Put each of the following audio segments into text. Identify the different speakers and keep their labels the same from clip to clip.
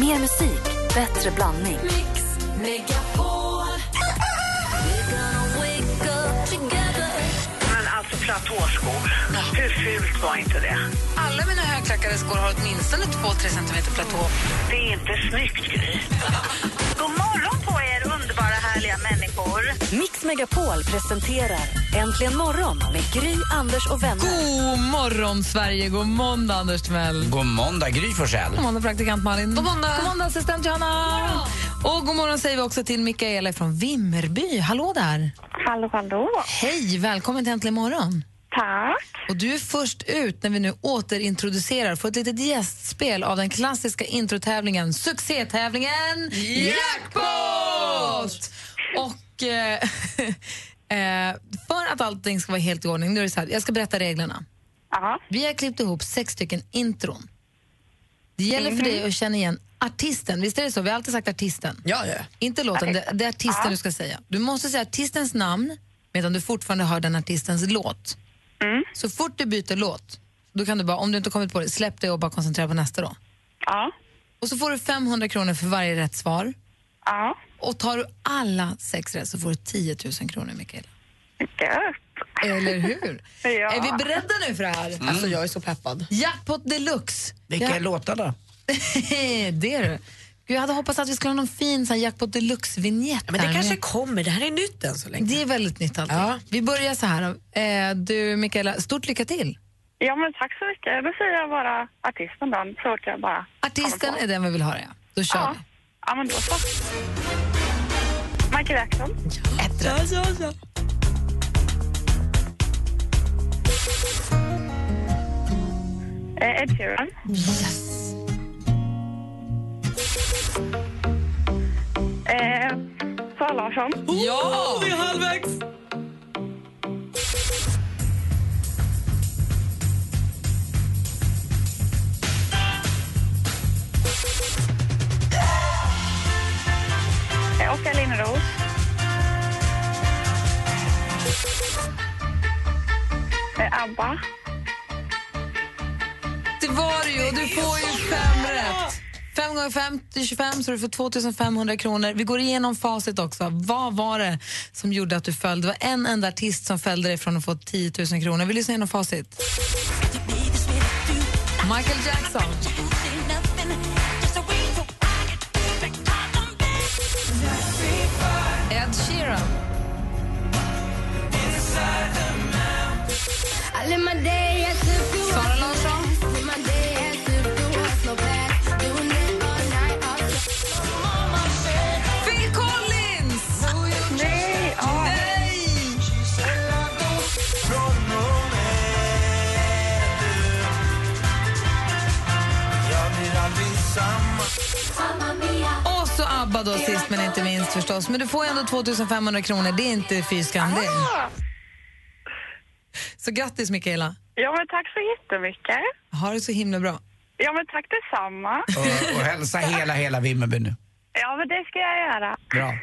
Speaker 1: Mer musik, bättre blandning.
Speaker 2: Mix Megapol.
Speaker 3: Men alltså platåskor, hur fult var inte det?
Speaker 4: Alla mina högklackade skor har åtminstone 2-3 centimeter platå.
Speaker 3: Det är inte snyggt, Gry. God morgon på er, underbara härliga människor.
Speaker 1: Mix Megapol presenterar Äntligen morgon med Gry, Anders och vänner.
Speaker 4: God morgon, Sverige! God måndag, Anders Timell.
Speaker 5: God måndag, Gry Forssell.
Speaker 4: God måndag, praktikant Malin. God måndag, god måndag assistent Johanna. Och god morgon säger vi också till Mikaela från Vimmerby. Hallå där!
Speaker 6: Hallå, hallå.
Speaker 4: Hej, välkommen till Äntligen morgon.
Speaker 6: Tack.
Speaker 4: Och du är först ut när vi nu återintroducerar, får ett litet gästspel av den klassiska introtävlingen, succétävlingen Jackpot! Och eh, eh, för att allting ska vara helt i ordning, nu är det så här, jag ska berätta reglerna.
Speaker 6: Ja,
Speaker 4: Vi har klippt ihop sex stycken intron. Det gäller för dig att känna igen artisten, visst är det så? Vi har alltid sagt artisten.
Speaker 7: Mhm. Ja, ja.
Speaker 4: Inte låten, det, det är artisten du ska säga. Du måste säga artistens namn medan du fortfarande hör den artistens låt.
Speaker 7: Mm.
Speaker 4: Så fort du byter låt, då kan du bara, om du inte kommit på det, släpp det och bara koncentrera på nästa då.
Speaker 6: ja,
Speaker 4: Och så får du 500 kronor för varje rätt svar.
Speaker 6: ja.
Speaker 4: Och tar du alla sex rätt så får du 10 000 kronor, Mikaela.
Speaker 6: Gött.
Speaker 4: Eller hur?
Speaker 6: Ja.
Speaker 4: Är vi beredda nu för det här?
Speaker 7: Alltså, jag är så peppad.
Speaker 4: Jackpot deluxe!
Speaker 5: Vilka
Speaker 4: Ja.
Speaker 5: är låtar då?
Speaker 4: det är du. Gud, jag hade hoppats att vi skulle ha någon fin sån här jackpot deluxe-vinjett.
Speaker 7: Men det
Speaker 4: här,
Speaker 7: kanske
Speaker 4: men
Speaker 7: kommer. Det här är nytt än så länge.
Speaker 4: det är väldigt nytt alltid.
Speaker 7: Ja.
Speaker 4: Vi börjar så här. Eh, du, Mikaela, stort lycka till.
Speaker 6: Ja, men tack så mycket. Då säger jag bara artisten då, så fort jag bara...
Speaker 4: Artisten är den vi vill höra, ja. Då kör
Speaker 6: Ja, ja men då så. Michael Jackson.
Speaker 4: vi. Ett rätt.
Speaker 7: Ja, ja, ja.
Speaker 6: Eh, Ed Sheeran.
Speaker 4: Yes.
Speaker 6: Eh, Sara Larsson.
Speaker 4: Ja!
Speaker 7: Vi är halvvägs!
Speaker 6: Eh, Oskar Linnros. Eh, Abba.
Speaker 4: Det var det ju. och Du får ju fem rätt. Fem gånger fem det är 25, så du får 2500 kronor. Vi går igenom facit också. Vad var det som gjorde att du föll? Det var en enda artist som fällde dig från att få 10 000 kronor. Vi lyssnar igenom facit. Michael Jackson. Ed Sheeran. Sara Larsson. Phil Collins!
Speaker 6: Nej! Ja,
Speaker 4: Nej! Och så ABBA då sist men inte minst förstås. Men du får ju ändå 2500 kronor, det är inte fy skam det.
Speaker 7: Ah!
Speaker 4: Så grattis Mikaela,
Speaker 6: ja men tack så jättemycket.
Speaker 4: ha det så himla bra.
Speaker 6: Ja, men tack detsamma.
Speaker 5: Och, och hälsa hela, hela Vimmerby nu.
Speaker 6: Ja, men det ska jag göra.
Speaker 5: Bra.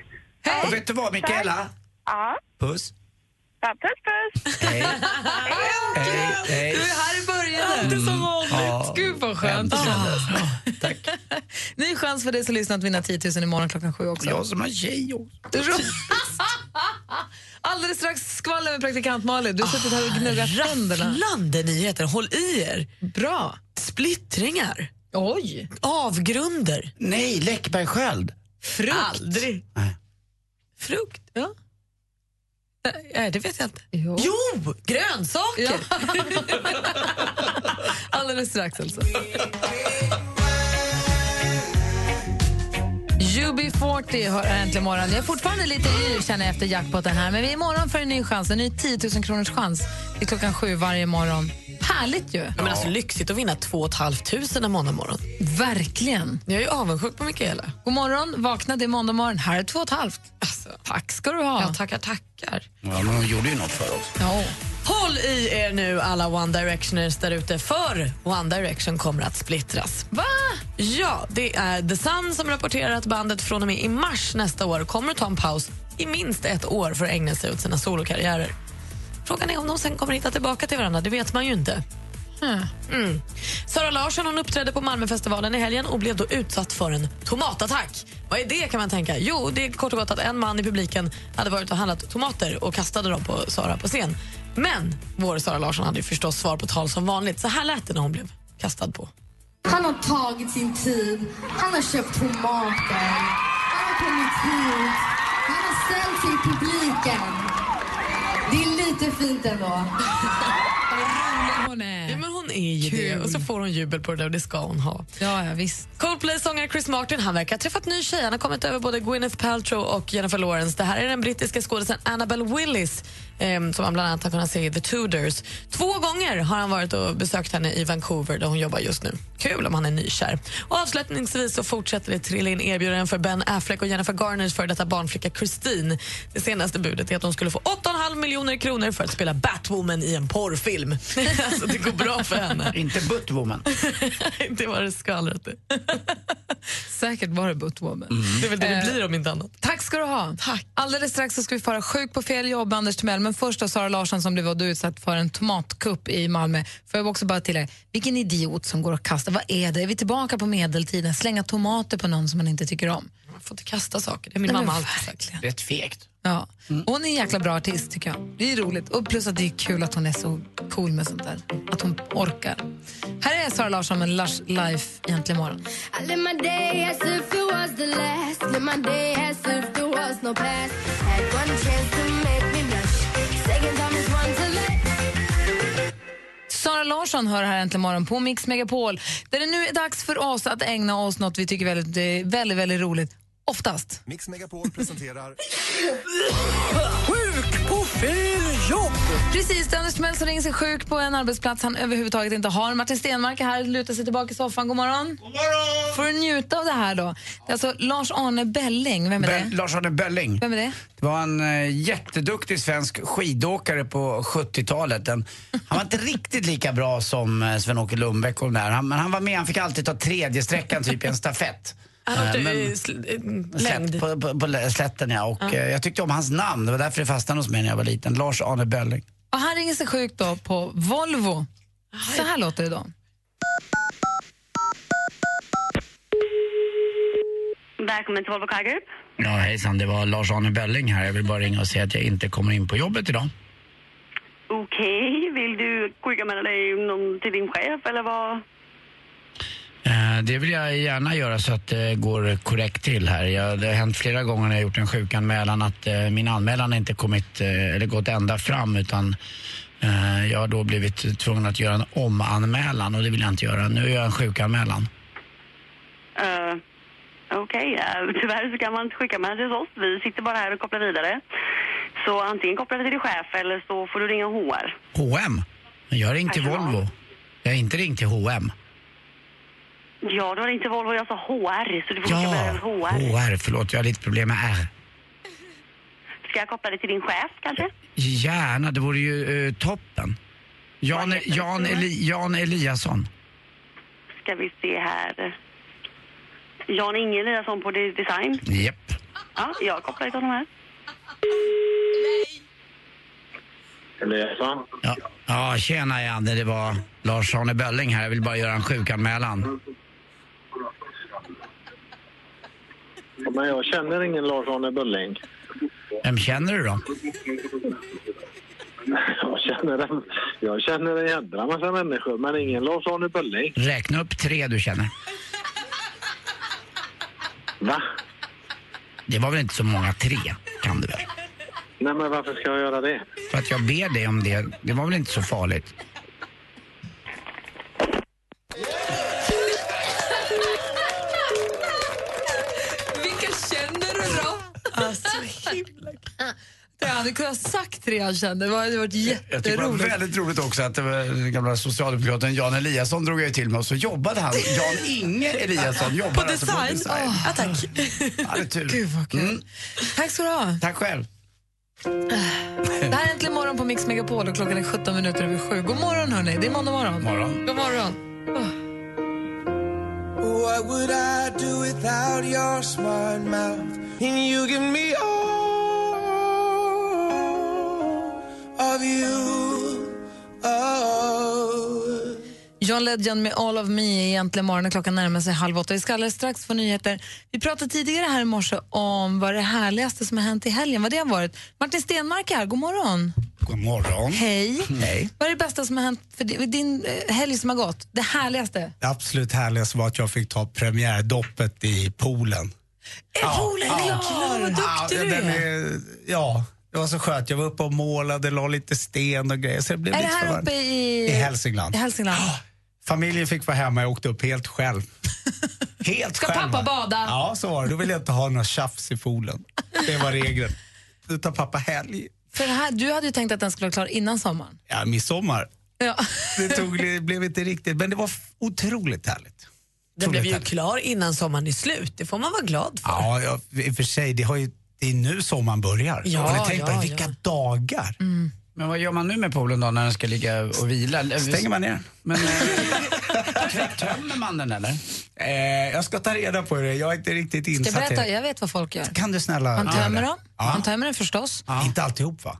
Speaker 4: Hej!
Speaker 5: Och vet du vad, Mikaela?
Speaker 6: Ja,
Speaker 5: Puss.
Speaker 6: ja puss puss.
Speaker 5: Hej. Hej.
Speaker 4: Du
Speaker 5: Hej.
Speaker 4: är här i början. Alltid som
Speaker 5: Ja.
Speaker 4: Gud vad skönt.
Speaker 5: Äntligen.
Speaker 4: Ah.
Speaker 5: Tack.
Speaker 4: Ny chans för dig som lyssnar att vinna 10 000 imorgon klockan sju också.
Speaker 5: Jag som har tjej också.
Speaker 4: Alldeles strax skvaller med praktikant Malin. Du har suttit här och gnuggat tänderna.
Speaker 7: Ah, Rafflande nyheter. Håll i er.
Speaker 4: Bra.
Speaker 7: Splittringar.
Speaker 4: Oj.
Speaker 7: Avgrunder.
Speaker 5: Nej, Läckbergsköld.
Speaker 4: Frukt.
Speaker 7: Aldrig.
Speaker 5: Nej.
Speaker 7: Frukt?
Speaker 4: Ja.
Speaker 7: Nej, det vet jag inte.
Speaker 4: Jo.
Speaker 7: Jo! Grönsaker!
Speaker 4: Ja. Alldeles strax alltså. UB40 har äntligen morgon. Jag är fortfarande lite yr känner jag efter jackpoten här. Men vi är imorgon för en ny chans. En ny 10 000 kronors chans. Det är klockan sju varje morgon. Härligt ju.
Speaker 7: Men alltså, lyxigt att vinna 2 500 en måndag morgon.
Speaker 4: Verkligen.
Speaker 7: Jag är ju avundsjuk på Mikaela.
Speaker 4: God morgon, vakna, det är måndag morgon. Här är två och ett halvt.
Speaker 7: Alltså,
Speaker 4: Tack ska du ha.
Speaker 7: jag tackar, tackar.
Speaker 5: Ja, men hon gjorde ju något för oss.
Speaker 4: Ja.
Speaker 7: Håll i er nu alla One Directioners där ute för One Direction kommer att splittras.
Speaker 4: Va?
Speaker 7: Ja, det är The Sun som rapporterar att bandet från och med i mars nästa år kommer att ta en paus i minst ett år för att ägna sig åt sina solokarriärer. Frågan är om de sen kommer hitta tillbaka till varandra, det vet man ju inte. Mm. Sara Larsson hon uppträdde på Malmöfestivalen i helgen och blev då utsatt för en tomatattack. Vad är det kan man tänka? Jo, det är kort och gott att en man i publiken hade varit och handlat tomater och kastade dem på Sara på scen. Men vår Sara Larsson hade ju förstås svar på tal som vanligt. Så här lät det när hon blev kastad på.
Speaker 8: Han har tagit sin tid, han har köpt tomater, han har kommit hit, han har sänt till publiken. Det är lite fint ändå.
Speaker 4: Hon
Speaker 7: Ja,
Speaker 4: är...
Speaker 7: men hon är ju det.
Speaker 4: Kul.
Speaker 7: Och så får hon jubel på det där och det ska hon ha.
Speaker 4: Ja, ja, visst.
Speaker 7: Coldplay-sångaren Chris Martin han verkar ha träffat ny tjej. Han har kommit över både Gwyneth Paltrow och Jennifer Lawrence. Det här är den brittiska skådespelaren Annabelle Willis ehm, som man bland annat har kunnat se i The Tudors. Två gånger har han varit och besökt henne i Vancouver där hon jobbar just nu. Kul om han är nykär. Och avslutningsvis så fortsätter det trilla in erbjudanden för Ben Affleck och Jennifer Garners för detta barnflicka Christine. Det senaste budet är att hon skulle få 8,5 miljoner kronor för att spela Batwoman i en porrfilm. alltså, det går bra för henne.
Speaker 9: Inte Buttwoman.
Speaker 7: det var det skvallret.
Speaker 4: Säkert var det Buttwoman.
Speaker 9: Mm.
Speaker 7: Det är väl det det
Speaker 4: Eh,
Speaker 7: blir om inte annat.
Speaker 4: Tack ska du ha.
Speaker 7: Tack.
Speaker 4: Alldeles strax så ska vi fara sjuk på fel jobb med Anders Timell, men först då Sara Larsson som blev då utsatt för en tomatkupp i Malmö. Får jag också bara tillägga, vilken idiot som går och kastar, vad är det? Är vi tillbaka på medeltiden? Slänga tomater på någon som man inte tycker om.
Speaker 7: Man får inte kasta saker. Det har min
Speaker 4: Nej, men
Speaker 7: mamma alltid sagt.
Speaker 9: Rätt fegt.
Speaker 4: Ja. Hon är en jäkla bra artist tycker jag. Det är roligt. Och plus att det är kul att hon är så cool med sånt där. Att hon orkar. Här är Sara Larsson med Lush Life egentligen imorgon.
Speaker 8: I live my day as if it was the last. Live my day as if there was no past. Had one chance to make me blush. Second time is one to let.
Speaker 4: Sara Larsson hör här äntligen morgon på Mix Megapol där det nu är dags för oss att ägna oss något vi tycker är väldigt, eh, väldigt, väldigt roligt. Oftast.
Speaker 10: Mix Megapol presenterar...
Speaker 4: Precis, det är Anders Timell som ringer sig sjuk på en arbetsplats han överhuvudtaget inte har. Martin Stenmark är här, lutar sig tillbaka i soffan. God morgon. God morgon! Får du njuta av det här då. Det är alltså Lars-Arne Belling, vem är
Speaker 9: Be-
Speaker 4: det?
Speaker 9: Lars-Arne Bölling.
Speaker 4: Vem är det?
Speaker 9: Det var en eh, jätteduktig svensk skidåkare på 70-talet. Den, han var inte riktigt lika bra som eh, Sven-Åke Lundbäck och de där. Han, men han var med, han fick alltid ta tredje sträckan typ i en stafett.
Speaker 7: Han
Speaker 9: Eh,
Speaker 7: åkte
Speaker 9: men-
Speaker 7: i sl- eh,
Speaker 9: Slätt,
Speaker 7: längd.
Speaker 9: på, på, på lä- slätten ja. Och eh, jag tyckte om hans namn, det var därför det fastnade hos mig när jag var liten. Lars-Arne Bölling.
Speaker 4: Och han ringer sig sjuk då på Volvo. Så här låter det då.
Speaker 11: Välkommen till Volvo Car Group.
Speaker 9: Ja hejsan, det var Lars-Arne Bölling här. Jag vill bara ringa och säga att jag inte kommer in på jobbet idag.
Speaker 11: Okej, vill du skicka med dig någon till din chef eller vad?
Speaker 9: Eh, Det vill jag gärna göra så att det går korrekt till här. Jag, det har hänt flera gånger när jag gjort en sjukanmälan att eh, min anmälan inte kommit, eh, eller gått ända fram utan eh, jag har då blivit tvungen att göra en omanmälan och det vill jag inte göra. Nu gör jag en sjukanmälan.
Speaker 11: Eh, Okej, eh, tyvärr så kan man inte skicka med den till oss. Vi sitter bara här och kopplar vidare. Så antingen kopplar vi till din chef eller så får du ringa HR.
Speaker 9: H&M. Men jag har ringt till
Speaker 11: Ja.
Speaker 9: Volvo. Jag har inte ringt till H&M.
Speaker 11: Ja, du har inte Volvo, jag sa HR. Så du får skicka med
Speaker 9: Ja,
Speaker 11: den HR.
Speaker 9: HR. Förlåt, jag har lite problem med R.
Speaker 11: Ska jag koppla dig till din chef kanske?
Speaker 9: Gärna, det vore ju eh, toppen. Jan,
Speaker 11: Vad heter
Speaker 9: Jan,
Speaker 11: du?
Speaker 9: Eli, Jan Eliasson.
Speaker 11: Ska vi se här. Jan-Inge Eliasson på de- design.
Speaker 9: Japp.
Speaker 11: Ja, jag kopplar dig till honom här.
Speaker 12: Eliasson.
Speaker 9: Ja. ja, tjena Janne, det var Lars-Arne Bölling här. Jag vill bara göra en sjukanmälan.
Speaker 12: Ja, Men jag känner ingen Lars-Arne Bölling.
Speaker 9: Vem känner du då?
Speaker 12: Jag känner en, jag känner en jädra massa människor, men ingen Lars-Arne Bölling.
Speaker 9: Räkna upp tre du känner.
Speaker 12: Va?
Speaker 9: Det var väl inte så många tre, kan du väl?
Speaker 12: Nej, men varför ska jag göra det?
Speaker 9: För att jag ber dig om det. Det var väl inte så farligt?
Speaker 4: Vilka känner du då? Alltså, himla kul. Jag hade kunnat sagt det jag kände. Det hade varit
Speaker 9: Jag tycker det var
Speaker 4: jätteroligt.
Speaker 9: väldigt roligt också att det var den gamla socialdemokraten Jan Eliasson drog jag ju till med och så jobbade han, Jan-Inge Eliasson, jobbar
Speaker 7: På design?
Speaker 9: Alltså på design.
Speaker 7: Ja, tack.
Speaker 9: Ja, det är tur. Mm,
Speaker 4: Gud vad kul. Tack ska du ha.
Speaker 9: Tack själv.
Speaker 4: Det här är Äntligen morgon på Mix Megapol och klockan är 17 minuter över sju. God morgon hörni, det är måndag morgon.
Speaker 9: Morgon.
Speaker 7: God morgon.
Speaker 10: What would I do without your smart mouth? And you give me all of you. Oh.
Speaker 4: John Legend med All of Me egentligen morgonen. Klockan närmar sig halv åtta. Vi ska alldeles strax få nyheter. Vi pratade tidigare här i morse om vad det härligaste som har hänt i helgen, vad det har varit. Martin Stenmark är här, god morgon.
Speaker 5: God morgon.
Speaker 4: Hej.
Speaker 5: Hej.
Speaker 4: Vad är det bästa som har hänt för di- din eh, helg som har gått? Det härligaste?
Speaker 9: Det absolut härligaste var att jag fick ta premiärdoppet i poolen.
Speaker 4: Ja, Poolen är klar! Vad duktig
Speaker 9: ja,
Speaker 4: du
Speaker 9: den
Speaker 4: är!
Speaker 9: är, ja, det var så skönt. Jag var uppe och målade, la lite sten och grejer. Så det blev
Speaker 4: Är det
Speaker 9: lite för
Speaker 4: här
Speaker 9: varmt.
Speaker 4: uppe i...
Speaker 9: I Hälsingland.
Speaker 4: I Hälsingland.
Speaker 9: Familjen fick vara hemma, jag åkte upp helt själv. Helt
Speaker 4: Ska
Speaker 9: själv.
Speaker 4: pappa
Speaker 9: va?
Speaker 4: bada?
Speaker 9: Ja, så var det. Då ville jag inte ha några tjafs i poolen. Det var regeln. Då tar pappa helg.
Speaker 4: För det här, du hade ju tänkt att den skulle vara klar innan sommaren.
Speaker 9: Ja, midsommar.
Speaker 4: Ja.
Speaker 9: Det, tog, det blev inte riktigt, men det var f- otroligt härligt.
Speaker 7: Den blev ju
Speaker 9: Otroligt
Speaker 7: klar innan sommaren är slut. Det får man vara glad för.
Speaker 9: Ja, ja, i och för sig. Det, har ju, det är nu sommaren börjar.
Speaker 7: Ja,
Speaker 9: har ni tänkt på
Speaker 7: ja,
Speaker 9: det? Vilka dagar?
Speaker 5: Men vad gör man nu med poolen då när den ska ligga och vila?
Speaker 9: Stänger man ner den?
Speaker 5: Men, eh, tömmer man den eller?
Speaker 9: Eh, jag ska ta reda på det. Jag är inte riktigt
Speaker 4: Ska jag
Speaker 9: insatt i
Speaker 4: berätta?
Speaker 9: det.
Speaker 4: Jag vet vad folk gör.
Speaker 9: Kan du snälla...
Speaker 4: Man
Speaker 9: göra
Speaker 4: tömmer
Speaker 9: det?
Speaker 4: dem.
Speaker 9: Ja.
Speaker 4: Man tömmer den förstås.
Speaker 9: Ja. Inte alltihop va?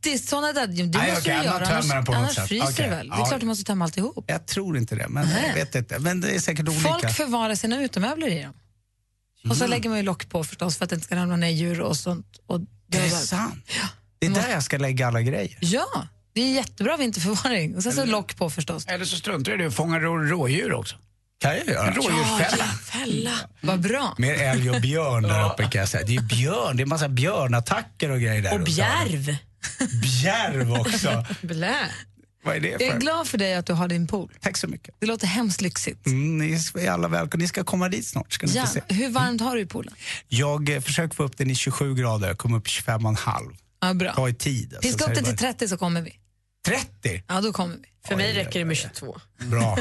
Speaker 4: Det är sådana där, det måste
Speaker 9: Nej,
Speaker 4: du
Speaker 9: okej, man
Speaker 4: göra,
Speaker 9: tömmer den
Speaker 4: annars,
Speaker 9: på något
Speaker 4: annars
Speaker 9: sätt.
Speaker 4: fryser
Speaker 9: Okej,
Speaker 4: det väl? Det är
Speaker 9: ja.
Speaker 4: klart du måste tömma alltihop.
Speaker 9: Jag tror inte det, men
Speaker 4: Nej.
Speaker 9: jag vet inte. Men det är säkert olika.
Speaker 4: Folk förvarar sina utemöbler i dem. Och så lägger man ju lock på förstås för att det inte ska ramla ner djur och sånt. Och
Speaker 9: det är
Speaker 4: döda.
Speaker 9: sant. Det är där jag ska lägga alla grejer.
Speaker 4: Ja, det är jättebra vinterförvaring. Och sen så lock på förstås.
Speaker 5: Eller så struntar du i det och fångar rå- rådjur också.
Speaker 9: Kan jag göra?
Speaker 5: En rådjursfälla.
Speaker 7: Fälla.
Speaker 4: Mm. Vad bra.
Speaker 9: Mer älg och björn där uppe kan jag säga. Det är björn, det är massa björnattacker och grejer där.
Speaker 7: Och
Speaker 9: uppe.
Speaker 7: bjärv.
Speaker 9: Bjärv också.
Speaker 7: Blä.
Speaker 9: Vad är det
Speaker 4: Jag är
Speaker 9: för?
Speaker 4: glad för dig att du har din pool.
Speaker 9: Tack så mycket.
Speaker 4: Det låter hemskt lyxigt.
Speaker 9: Mm, ni är alla välkomna. Ni ska komma dit snart. Ska ni
Speaker 4: Ja,
Speaker 9: få se.
Speaker 4: hur varmt har du i poolen?
Speaker 9: Jag eh, försöker få upp den i 27 grader. Jag kom upp i 25,5.
Speaker 4: Ja,
Speaker 9: Det tar
Speaker 4: bra.
Speaker 9: ju tid. alltså.
Speaker 4: Piska
Speaker 9: Så
Speaker 4: upp
Speaker 9: det
Speaker 4: det
Speaker 9: är
Speaker 4: till 30 så kommer vi.
Speaker 9: bara- 30?
Speaker 4: Ja, då kommer vi.
Speaker 7: För mig räcker det med 22.
Speaker 9: Bra.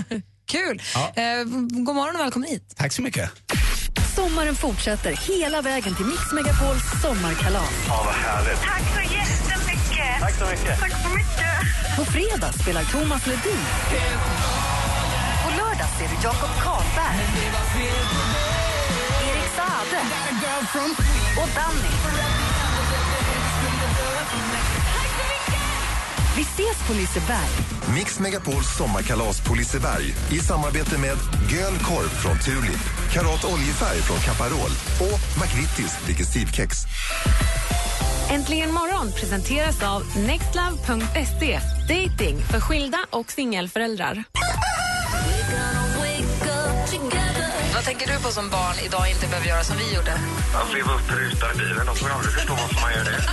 Speaker 4: Kul!
Speaker 9: Ja.
Speaker 4: Eh, god morgon och välkommen hit.
Speaker 9: Tack så mycket.
Speaker 1: Sommaren fortsätter hela vägen till Mix Megapols sommarkalas.
Speaker 3: Tack så jättemycket. Tack så mycket. Tack så mycket.
Speaker 1: På fredag spelar Thomas Ledin. På lördag ser du Jakob Karlberg. Erik Saade. Och Danny. Vi ses på Liseberg.
Speaker 13: Mix Megapols sommarkalas på Liseberg i samarbete med Göl korv från Tulip, Karat oljefärg från Caparol och McVittys digestivkex.
Speaker 2: Äntligen morgon presenteras av nextlove.se. Dating för skilda och singelföräldrar.
Speaker 4: Vad tänker du på som barn idag inte behöver göra som vi gjorde?
Speaker 11: Att leva upp rutan i bilen, de kommer aldrig förstå varför man gör det.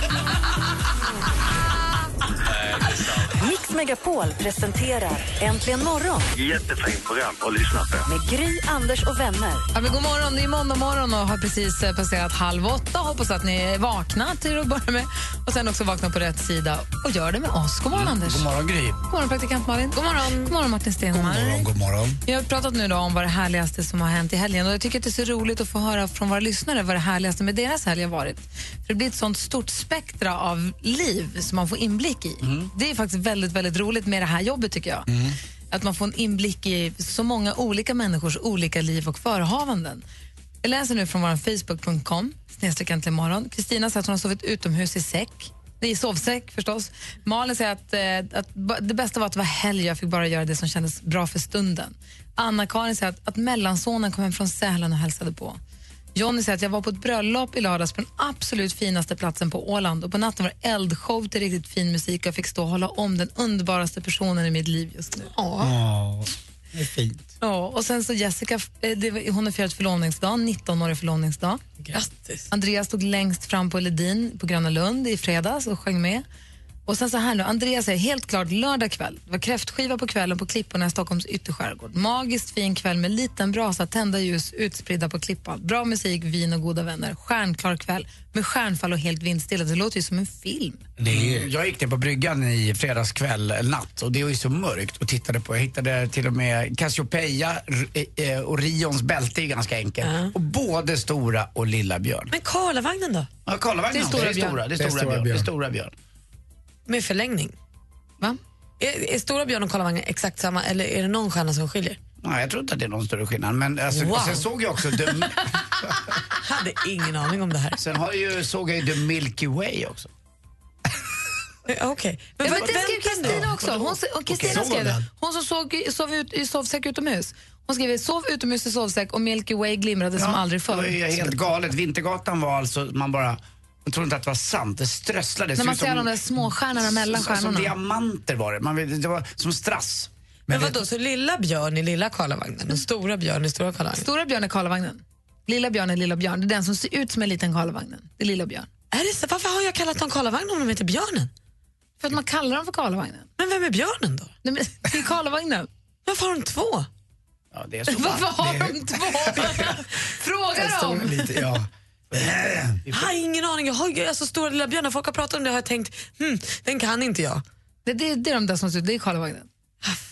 Speaker 1: Mix Megapol presenterar Äntligen morgon
Speaker 11: Jättefint program att lyssna på.
Speaker 1: med Gry, Anders och vänner.
Speaker 4: Ja, men god morgon, det är måndag morgon och har precis eh, passerat halv åtta. Hoppas att ni är vakna till att börja med och sen också vakna på rätt sida och gör det med oss. God morgon, Anders.
Speaker 5: God morgon Gry.
Speaker 4: God morgon, praktikant Malin. God morgon, god morgon Martin Stenmarck.
Speaker 9: god morgon.
Speaker 4: Vi har pratat nu då om vad det härligaste som har hänt i helgen och jag tycker att det är så roligt att få höra från våra lyssnare vad det härligaste med deras helg har varit. För det blir ett sånt stort spektra av liv som man får inblick i.
Speaker 5: Mm.
Speaker 4: Det är faktiskt väldigt, väldigt roligt med det här jobbet tycker jag. Att man får en inblick i så många olika människors olika liv och förehavanden. Jag läser nu från vår facebook.com, snedstreck äntligen morgon. Kristina säger att hon har sovit utomhus i säck. Det är sovsäck förstås. Malin säger att, eh, att ba- det bästa var att det var helg jag fick bara göra det som kändes bra för stunden. Anna-Karin säger att, att mellansonen kom hem från Sälen och hälsade på. Jonny säger att jag var på ett bröllop i lördags på den absolut finaste platsen på Åland och på natten var det eldshow till riktigt fin musik och jag fick stå och hålla om den underbaraste personen i mitt liv just nu.
Speaker 9: Ja, det är fint.
Speaker 4: Ja, och sen så Jessica, eh, det, var- hon har firat förlovningsdag, 19-årig förlovningsdag.
Speaker 7: Grattis.
Speaker 4: Andreas stod längst fram på Ledin på Gröna Lund i fredags och sjöng med. Och sen så här nu, Andreas säger helt klart lördag kväll. Det var kräftskiva på kvällen på klipporna i Stockholms ytterskärgård. Magiskt fin kväll med liten brasa, tända ljus utspridda på klippan. Bra musik, vin och goda vänner. Stjärnklar kväll med stjärnfall och helt vindstilla. Det låter ju som en film.
Speaker 5: Mm. Jag gick ner på bryggan i fredags kväll, eller natt, och det var ju så mörkt och tittade på. Jag hittade till och med Cassiopeia r- eh, och Rions bälte är ganska enkelt. Och både stora och lilla björn.
Speaker 7: Men Karlavagnen då?
Speaker 5: Ja, Karlavagnen
Speaker 4: Det är
Speaker 5: också.
Speaker 4: stora
Speaker 5: det är stora, det är
Speaker 9: björn.
Speaker 5: stora, björn. Det är stora björn.
Speaker 7: Med förlängning.
Speaker 4: Va?
Speaker 7: Är, är Stora Björn och Karlavagnen exakt samma eller är det någon stjärna som skiljer?
Speaker 5: Nej, jag tror inte att det är någon större skillnad. Men alltså,
Speaker 7: Wow.
Speaker 5: och sen såg jag också, the,
Speaker 7: Hade ingen aning om det här.
Speaker 5: sen har jag ju, såg jag ju The Milky Way också.
Speaker 7: Okej.
Speaker 4: Men, ja, men det
Speaker 7: vem
Speaker 4: skrev
Speaker 7: kan
Speaker 4: Kristina
Speaker 7: då?
Speaker 4: också. Hon, se- och Kristina
Speaker 7: Okej.
Speaker 4: skrev det.
Speaker 7: Såg
Speaker 4: Hon som såg, sov ut, i sovsäck utomhus. Hon skrev sov utomhus i sovsäck och Milky Way glimrade som aldrig
Speaker 14: Det
Speaker 4: förr.
Speaker 14: var ju helt galet. Vintergatan var alltså, man bara... Man trodde inte att det var sant. Det strösslades.
Speaker 4: När man
Speaker 14: Det såg
Speaker 4: ser
Speaker 14: ut
Speaker 4: de där småstjärnorna mellan
Speaker 14: som, som
Speaker 4: stjärnorna.
Speaker 14: diamanter var det. Man, ville- det var som strass.
Speaker 7: Men, vadå, så lilla björn i lilla Karlavagnen och stora björn i stora Karlavagnen?
Speaker 4: Stora björn är Karlavagnen. Lilla björn är lilla björn. Det är den som ser ut som en liten Karlavagnen. Det är lilla björn.
Speaker 7: Är det så? Varför har jag kallat dem Karlavagnen om de heter Björnen?
Speaker 4: För att man kallar dem för Karlavagnen.
Speaker 7: Men vem är björnen då?
Speaker 4: Nej, men, det är Karlavagnen.
Speaker 7: Varför har de två?
Speaker 14: Ja, det är så
Speaker 4: Varför har
Speaker 14: det är-
Speaker 4: de två? Fråga
Speaker 14: det
Speaker 4: dem!
Speaker 14: är lite, ja.
Speaker 7: Jag har ingen aning. Jag har ju- alltså, stora lilla björnar. Folk har pratat om det och jag har tänkt, hmm, den kan inte jag.
Speaker 4: Det, det, det är de där som ser ut, det är Karlavagnen.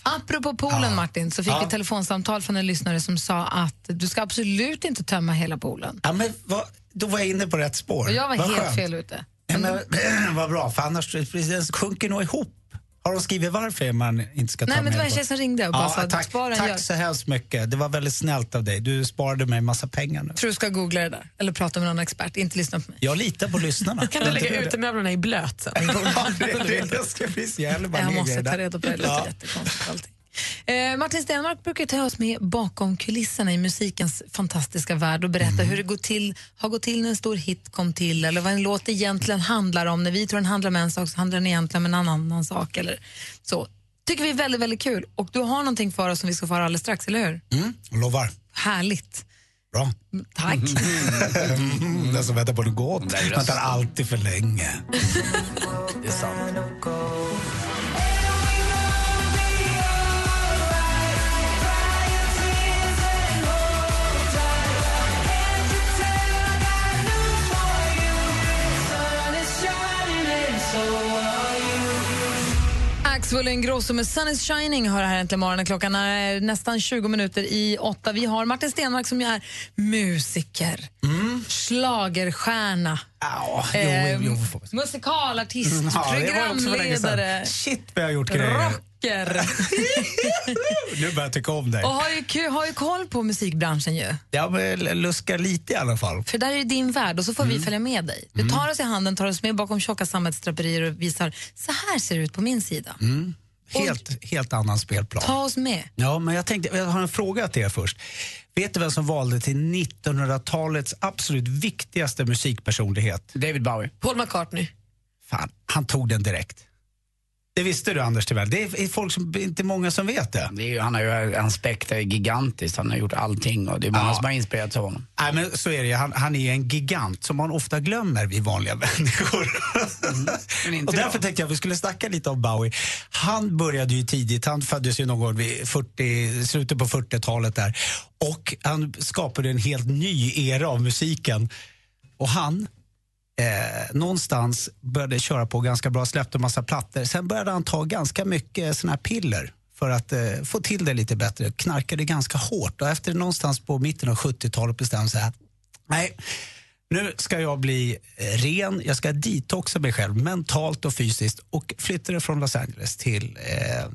Speaker 4: Apropå poolen Martin, så fick
Speaker 9: Ja.
Speaker 4: vi ett telefonsamtal från en lyssnare som sa att du ska absolut inte tömma hela poolen.
Speaker 9: Ja, men vad, då var jag inne på rätt spår.
Speaker 4: Och jag var
Speaker 9: Vad
Speaker 4: helt
Speaker 9: skönt.
Speaker 4: fel ute.
Speaker 9: Ja, men, vad bra, för annars den sjunker nog ihop. Har de skrivit varför man inte ska ta
Speaker 4: Nej, men
Speaker 9: med
Speaker 4: det var en
Speaker 9: på-
Speaker 4: tjej som ringde och bara sa att
Speaker 9: Ah, tack,
Speaker 4: spara en gör.
Speaker 9: Tack så hemskt mycket. Det var väldigt snällt av dig. Du sparade mig en massa pengar nu.
Speaker 4: Tror du ska googla det där eller prata med någon expert, inte lyssna på mig.
Speaker 9: Jag litar på lyssnarna.
Speaker 7: Kan du lägga utemöblerna i blöt sen?
Speaker 9: Ja, det, det, jag ska precis, jag häller bara
Speaker 4: Jag
Speaker 9: ner
Speaker 4: måste
Speaker 9: grejerna.
Speaker 4: ta reda på det, det låter
Speaker 9: Ja.
Speaker 4: jättekonstigt allting. Eh, Martin Stenmark brukar ta oss med bakom kulisserna i musikens fantastiska värld och berätta
Speaker 9: Mm.
Speaker 4: hur det går till, har gått till när en stor hit kom till eller vad en låt egentligen handlar om. När vi tror den handlar om en sak så handlar den egentligen om en annan sak. Eller så. tycker vi är väldigt, väldigt kul. Och du har någonting för oss som vi ska få höra alldeles strax, eller hur?
Speaker 9: Mm, lovar.
Speaker 4: Härligt.
Speaker 9: Bra.
Speaker 4: Tack.
Speaker 9: Mm, den som väntar på något gott väntar alltid för länge.
Speaker 14: Det är sant.
Speaker 4: Axel Ingrosso med Sun is shining hör här äntligen morgonen. Klockan är eh, nästan 20 minuter i åtta. Vi har Martin Stenmark som ju är musiker, mm. schlagerstjärna,
Speaker 9: jo,
Speaker 4: Ehm,
Speaker 9: jo,
Speaker 4: musikalartist,
Speaker 9: Mm, ja, det var också för länge sedan.
Speaker 4: programledare,
Speaker 9: Shit vad jag har gjort grejer.
Speaker 4: rocker.
Speaker 9: Nu börjar jag tycka om dig.
Speaker 4: Och har ju, ku- har ju koll på musikbranschen ju.
Speaker 9: Jag vill luska lite i alla fall.
Speaker 4: För där är ju din värld och så får vi följa med dig. Du tar oss i handen, tar oss med bakom tjocka sammetsdraperier och visar så här ser det ut på min sida.
Speaker 9: Mm. Helt, helt annan spelplan.
Speaker 4: Ta oss med.
Speaker 9: Ja, men jag tänkte, jag har en fråga till er först. Vet du vem som valde till 1900-talets absolut viktigaste musikpersonlighet?
Speaker 14: David Bowie.
Speaker 7: Paul McCartney.
Speaker 9: Fan, han tog den direkt. Det visste du Anders Tivell. Det är är folk som, inte många som vet det.
Speaker 14: Det är ju, han har ju, hans spektra är gigantiskt. Han har gjort allting och det är många
Speaker 9: Ja.
Speaker 14: som har inspirerats av honom.
Speaker 9: Nej, men så är det ju. Han, han är ju en gigant som man ofta glömmer, vi vanliga människor. och därför tänkte jag att vi skulle snacka lite om Bowie. Han började ju tidigt. Han föddes ju någon gång vid 40, slutet på 40-talet där. Och han skapade en helt ny era av musiken. Och han eh, någonstans började köra på ganska bra, släppte en massa plattor. Sen började han ta ganska mycket såna här piller för att eh, få till det lite bättre. Knarkade ganska hårt och efter någonstans på mitten av 70-talet bestämde sig nej, nu ska jag bli eh, ren, jag ska detoxa mig själv mentalt och fysiskt och flyttade från Los Angeles till eh,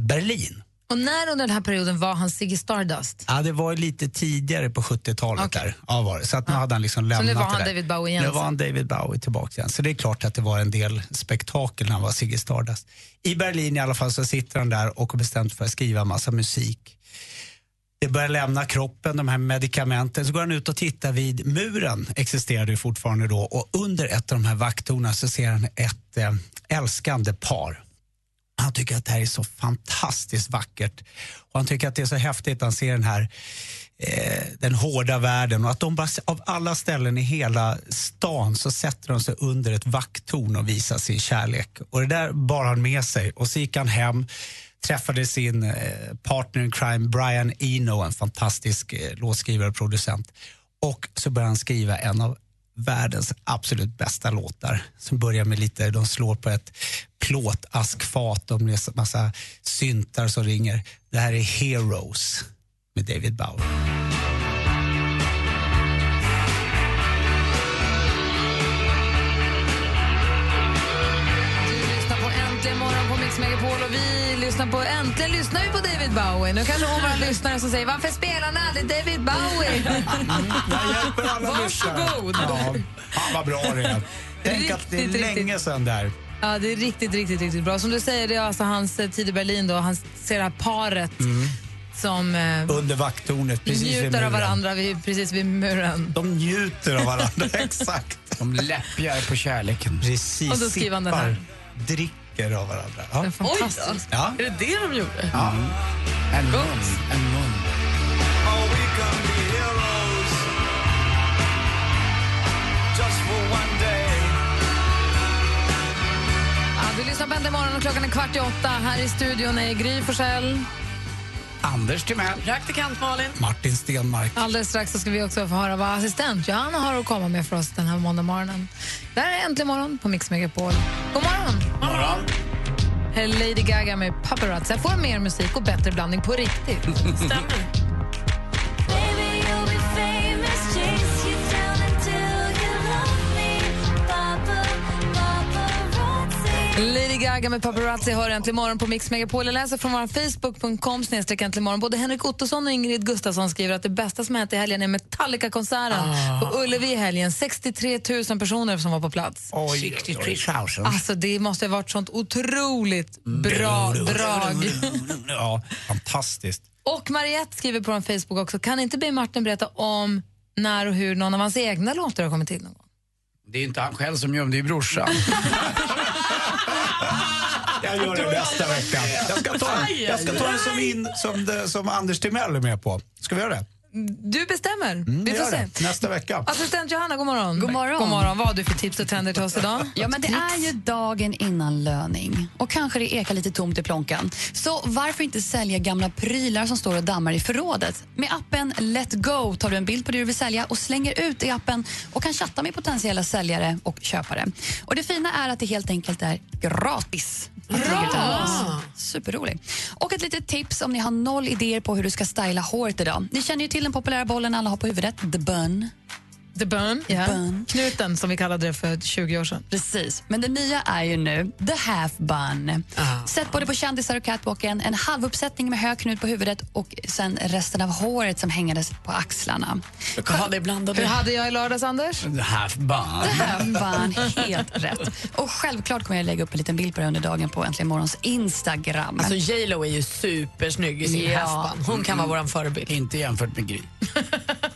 Speaker 9: Berlin.
Speaker 4: Och när under den här perioden var han Ziggy Stardust?
Speaker 9: Ja, det var ju lite tidigare på 70-talet där. Ja, var det. Så att nu hade han liksom
Speaker 4: Så
Speaker 9: lämnat
Speaker 4: nu var
Speaker 9: det
Speaker 4: han
Speaker 9: där.
Speaker 4: David Bowie igen
Speaker 9: Nu var
Speaker 4: sen.
Speaker 9: han David Bowie tillbaka igen. Så det är klart att det var en del spektakel när han var Ziggy Stardust. I Berlin i alla fall så sitter han där och har bestämt för att skriva massa musik. Det börjar lämna kroppen, de här medikamenten. Så går han ut och tittar vid muren, existerade ju fortfarande då. Och under ett av de här vakttornen så ser han ett eh, älskande par. Han tycker att det här är så fantastiskt vackert. Och han tycker att det är så häftigt. Han ser den här eh, den hårda världen och att de bara, av alla ställen i hela stan så sätter de sig under ett vakttorn och visar sin kärlek. Och det där bar han med sig och så gick han hem träffade sin eh, partner in crime Brian Eno, en fantastisk eh, låtskrivare och producent. Och så började han skriva en av världens absolut bästa låtar som börjar med lite, de slår på ett plåtaskfat och med massa syntar som ringer. Det här är Heroes med David Bowie.
Speaker 4: lyssnar på Äntligen morgon på Mix Megapol och vi lyssnar på Äntligen lyssnar vi på David Bowie. Nu kanske hon var en lyssnare som säger varför spelar ni aldrig David Bowie?
Speaker 9: Varsågod! Ja, fan vad bra det är. Tänk att det är
Speaker 4: Riktigt,
Speaker 9: länge sedan där.
Speaker 4: Ja, Ja, det är riktigt, riktigt, riktigt bra. Som du säger, det är alltså hans eh, tid i Berlin då. Han ser det här paret som eh,
Speaker 9: Under vakttornet, Mm. precis vid
Speaker 4: njuter
Speaker 9: muren.
Speaker 4: av varandra vid, precis vid muren.
Speaker 9: De njuter av varandra, exakt.
Speaker 14: De läppjar på kärleken.
Speaker 9: Precis,
Speaker 4: Och då skriver han den
Speaker 9: sippar,
Speaker 4: här.
Speaker 9: dricker av varandra. Ja.
Speaker 7: Fantastiskt.
Speaker 9: Ja.
Speaker 7: Är det det de gjorde?
Speaker 9: Ja.
Speaker 14: En mun, en mun.
Speaker 4: Ja, du lyssnar på Äntligen morgon och klockan är kvart i åtta. Här i studion är Gry Forssell.
Speaker 14: Anders Timell.
Speaker 7: Praktikant Malin.
Speaker 9: Martin Stenmark.
Speaker 4: Alldeles strax så ska vi också få höra vad assistent Johanna har att komma med för oss den här måndag morgonen. Det här är Äntligen morgon på Mix Megapol. God morgon!
Speaker 14: morgon.
Speaker 4: Här är Lady Gaga med Paparazzi. Jag får mer musik och bättre blandning på riktigt.
Speaker 7: Stämmer.
Speaker 4: Lady Gaga med Paparazzi hör Äntligen morgon på Mix Megapol. Jag läser från vår Facebook.com snedstreck Äntligen morgon. Både Henrik Ottosson och Ingrid Gustafsson skriver att det bästa som hänt i helgen är Metallica-konserten
Speaker 9: Ah.
Speaker 4: på Ullevi i helgen. 63 000 personer som var på plats.
Speaker 14: 63 000.
Speaker 4: Alltså det måste ha varit sånt otroligt bra drag.
Speaker 9: Ja, fantastiskt.
Speaker 4: Och Mariette skriver på en Facebook också, kan inte be Martin berätta om när och hur någon av hans egna låtar har kommit in någon gång?
Speaker 14: Det är ju inte han själv som gör det, det är ju brorsan.
Speaker 9: Jag gör det nästa vecka. Jag ska ta, jag ska ta det som, in, som, det, som Anders Timell är med på. Ska vi göra det?
Speaker 4: Du bestämmer, vi får
Speaker 9: gör
Speaker 4: se.
Speaker 9: Mm, det. Nästa vecka.
Speaker 4: Assistent Johanna, god morgon.
Speaker 8: God morgon.
Speaker 4: God morgon. Vad har du för tips och trender till oss idag?
Speaker 8: Ja, men det är ju dagen innan löning och kanske det ekar lite tomt i plånkan. Så varför inte sälja gamla prylar som står och dammar i förrådet? Med appen Let Go tar du en bild på det du vill sälja och slänger ut i appen och kan chatta med potentiella säljare och köpare. Och Det fina är att det helt enkelt är gratis.
Speaker 7: Ah.
Speaker 8: Bra! Superrolig. Och ett litet tips om ni har noll idéer på hur du ska styla håret idag. Ni känner ju till den populära bollen alla har på huvudet, the bun.
Speaker 4: The bun, ja. Knuten som vi kallade det för 20 år sedan.
Speaker 8: Precis, men det nya är ju nu the half bun. Sätt både på kändisar och catwalken, en halv uppsättning med hög knut på huvudet och sen resten av håret som hängades på axlarna.
Speaker 7: Ja, det är blandade.
Speaker 4: Hur hade jag i lördags, Anders?
Speaker 14: Half bun.
Speaker 8: The half bun, helt rätt. Och självklart kommer jag lägga upp en liten bild på det under dagen på Äntligen Morgons Instagram.
Speaker 7: Alltså J Lo är ju supersnygg i sin
Speaker 8: Ja.
Speaker 7: halsband. Hon kan vara vår förebild.
Speaker 14: Inte jämfört med Gry.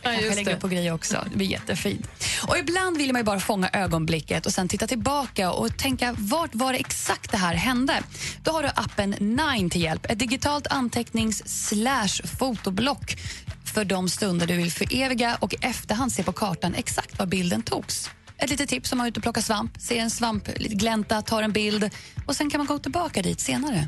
Speaker 8: kanske
Speaker 7: just
Speaker 8: lägga
Speaker 7: det.
Speaker 8: upp på grejer också. Det blir jättefint. Och ibland vill man ju bara fånga ögonblicket och sen titta tillbaka och tänka vart var det exakt det här hände? Då har du appen Nine till hjälp. Ett digitalt antecknings slash fotoblock för de stunder du vill föreviga och i efterhand se på kartan exakt var bilden togs. Ett litet tips om man är ute och plockar svamp. Ser en svamp lite glänta, tar en bild och sen kan man gå tillbaka dit senare.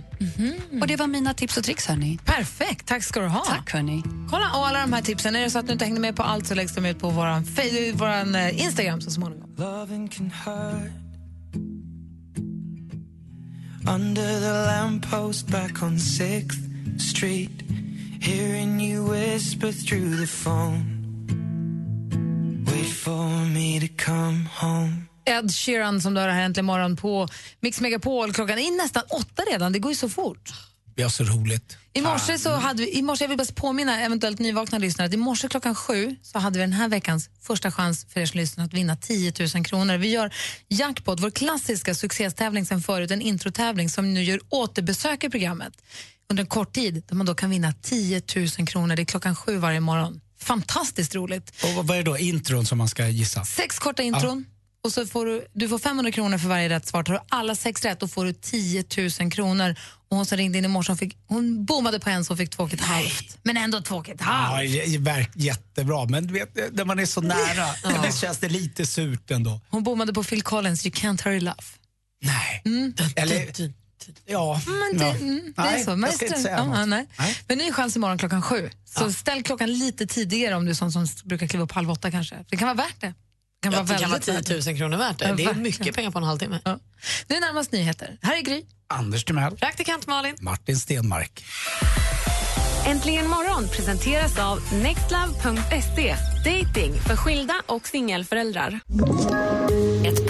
Speaker 8: Och Det var mina tips och tricks. Hörni.
Speaker 4: Perfekt, tack ska du ha.
Speaker 8: Tack hörni.
Speaker 4: Kolla och alla de här tipsen. Är det så att du inte hängde med på allt så läggs de ut på vår våran eh, Instagram så småningom.
Speaker 15: Loving can hurt. Under the lamppost back on 6th Street. Hearing you whisper through the phone. Wait for me to come home.
Speaker 4: Ed Sheeran som du har här äntligen morgon på Mix Megapol. Klockan är nästan åtta redan, det går ju så fort.
Speaker 9: Vi har så roligt.
Speaker 4: I morse, så hade vi, i morse jag vill bara påminna eventuellt nyvakna lyssnare att i morse klockan sju så hade vi den här veckans första chans för er som lyssnar att vinna 10 000 kronor. Vi gör jackpot, vår klassiska succéstävling sen förut, en introtävling som nu gör återbesök i programmet under en kort tid där man då kan vinna 10 000 kronor. Det är klockan sju varje morgon. Fantastiskt roligt.
Speaker 9: Och vad- vad är det då intron som man ska gissa?
Speaker 4: Sex korta intron. Och så får du, du får 500 kronor för varje rätt svar. Tar du alla sex rätt då får du 10 000 kronor. Och hon som ringde in i morse, hon, fick, hon bommade på en så hon fick två och ett halvt. Men ändå två och ett halvt.
Speaker 9: Ja, j- verk- jättebra, men du vet, när man är så nära det känns det lite surt ändå.
Speaker 4: Hon bommade på Phil Collins, You can't hurry love. Mm.
Speaker 9: Eller,
Speaker 7: typ-
Speaker 9: ja.
Speaker 4: Men det,
Speaker 9: ja.
Speaker 4: mm, det är
Speaker 9: Nej,
Speaker 4: så. Men
Speaker 9: jag ska inte
Speaker 4: strö-
Speaker 9: säga
Speaker 4: ja,
Speaker 9: något.
Speaker 4: nej. Men ny chans imorgon klockan sju. Så ställ klockan lite tidigare om du är sån som brukar kliva upp halv åtta kanske. Det kan vara värt det. Det kan
Speaker 7: Ja,
Speaker 4: vara
Speaker 7: det kan vara
Speaker 4: väldigt värt
Speaker 7: 10 000 kronor värt det.
Speaker 4: Ja,
Speaker 7: Det är
Speaker 4: verkligen.
Speaker 7: mycket pengar på en halvtimme.
Speaker 4: Nu är närmast nyheter. Här är Gry.
Speaker 9: Anders Timell.
Speaker 7: Praktikant Malin.
Speaker 9: Martin Stenmark.
Speaker 2: Äntligen morgon presenteras av nextlove.se. E. Dating för skilda och singelföräldrar.
Speaker 16: Ett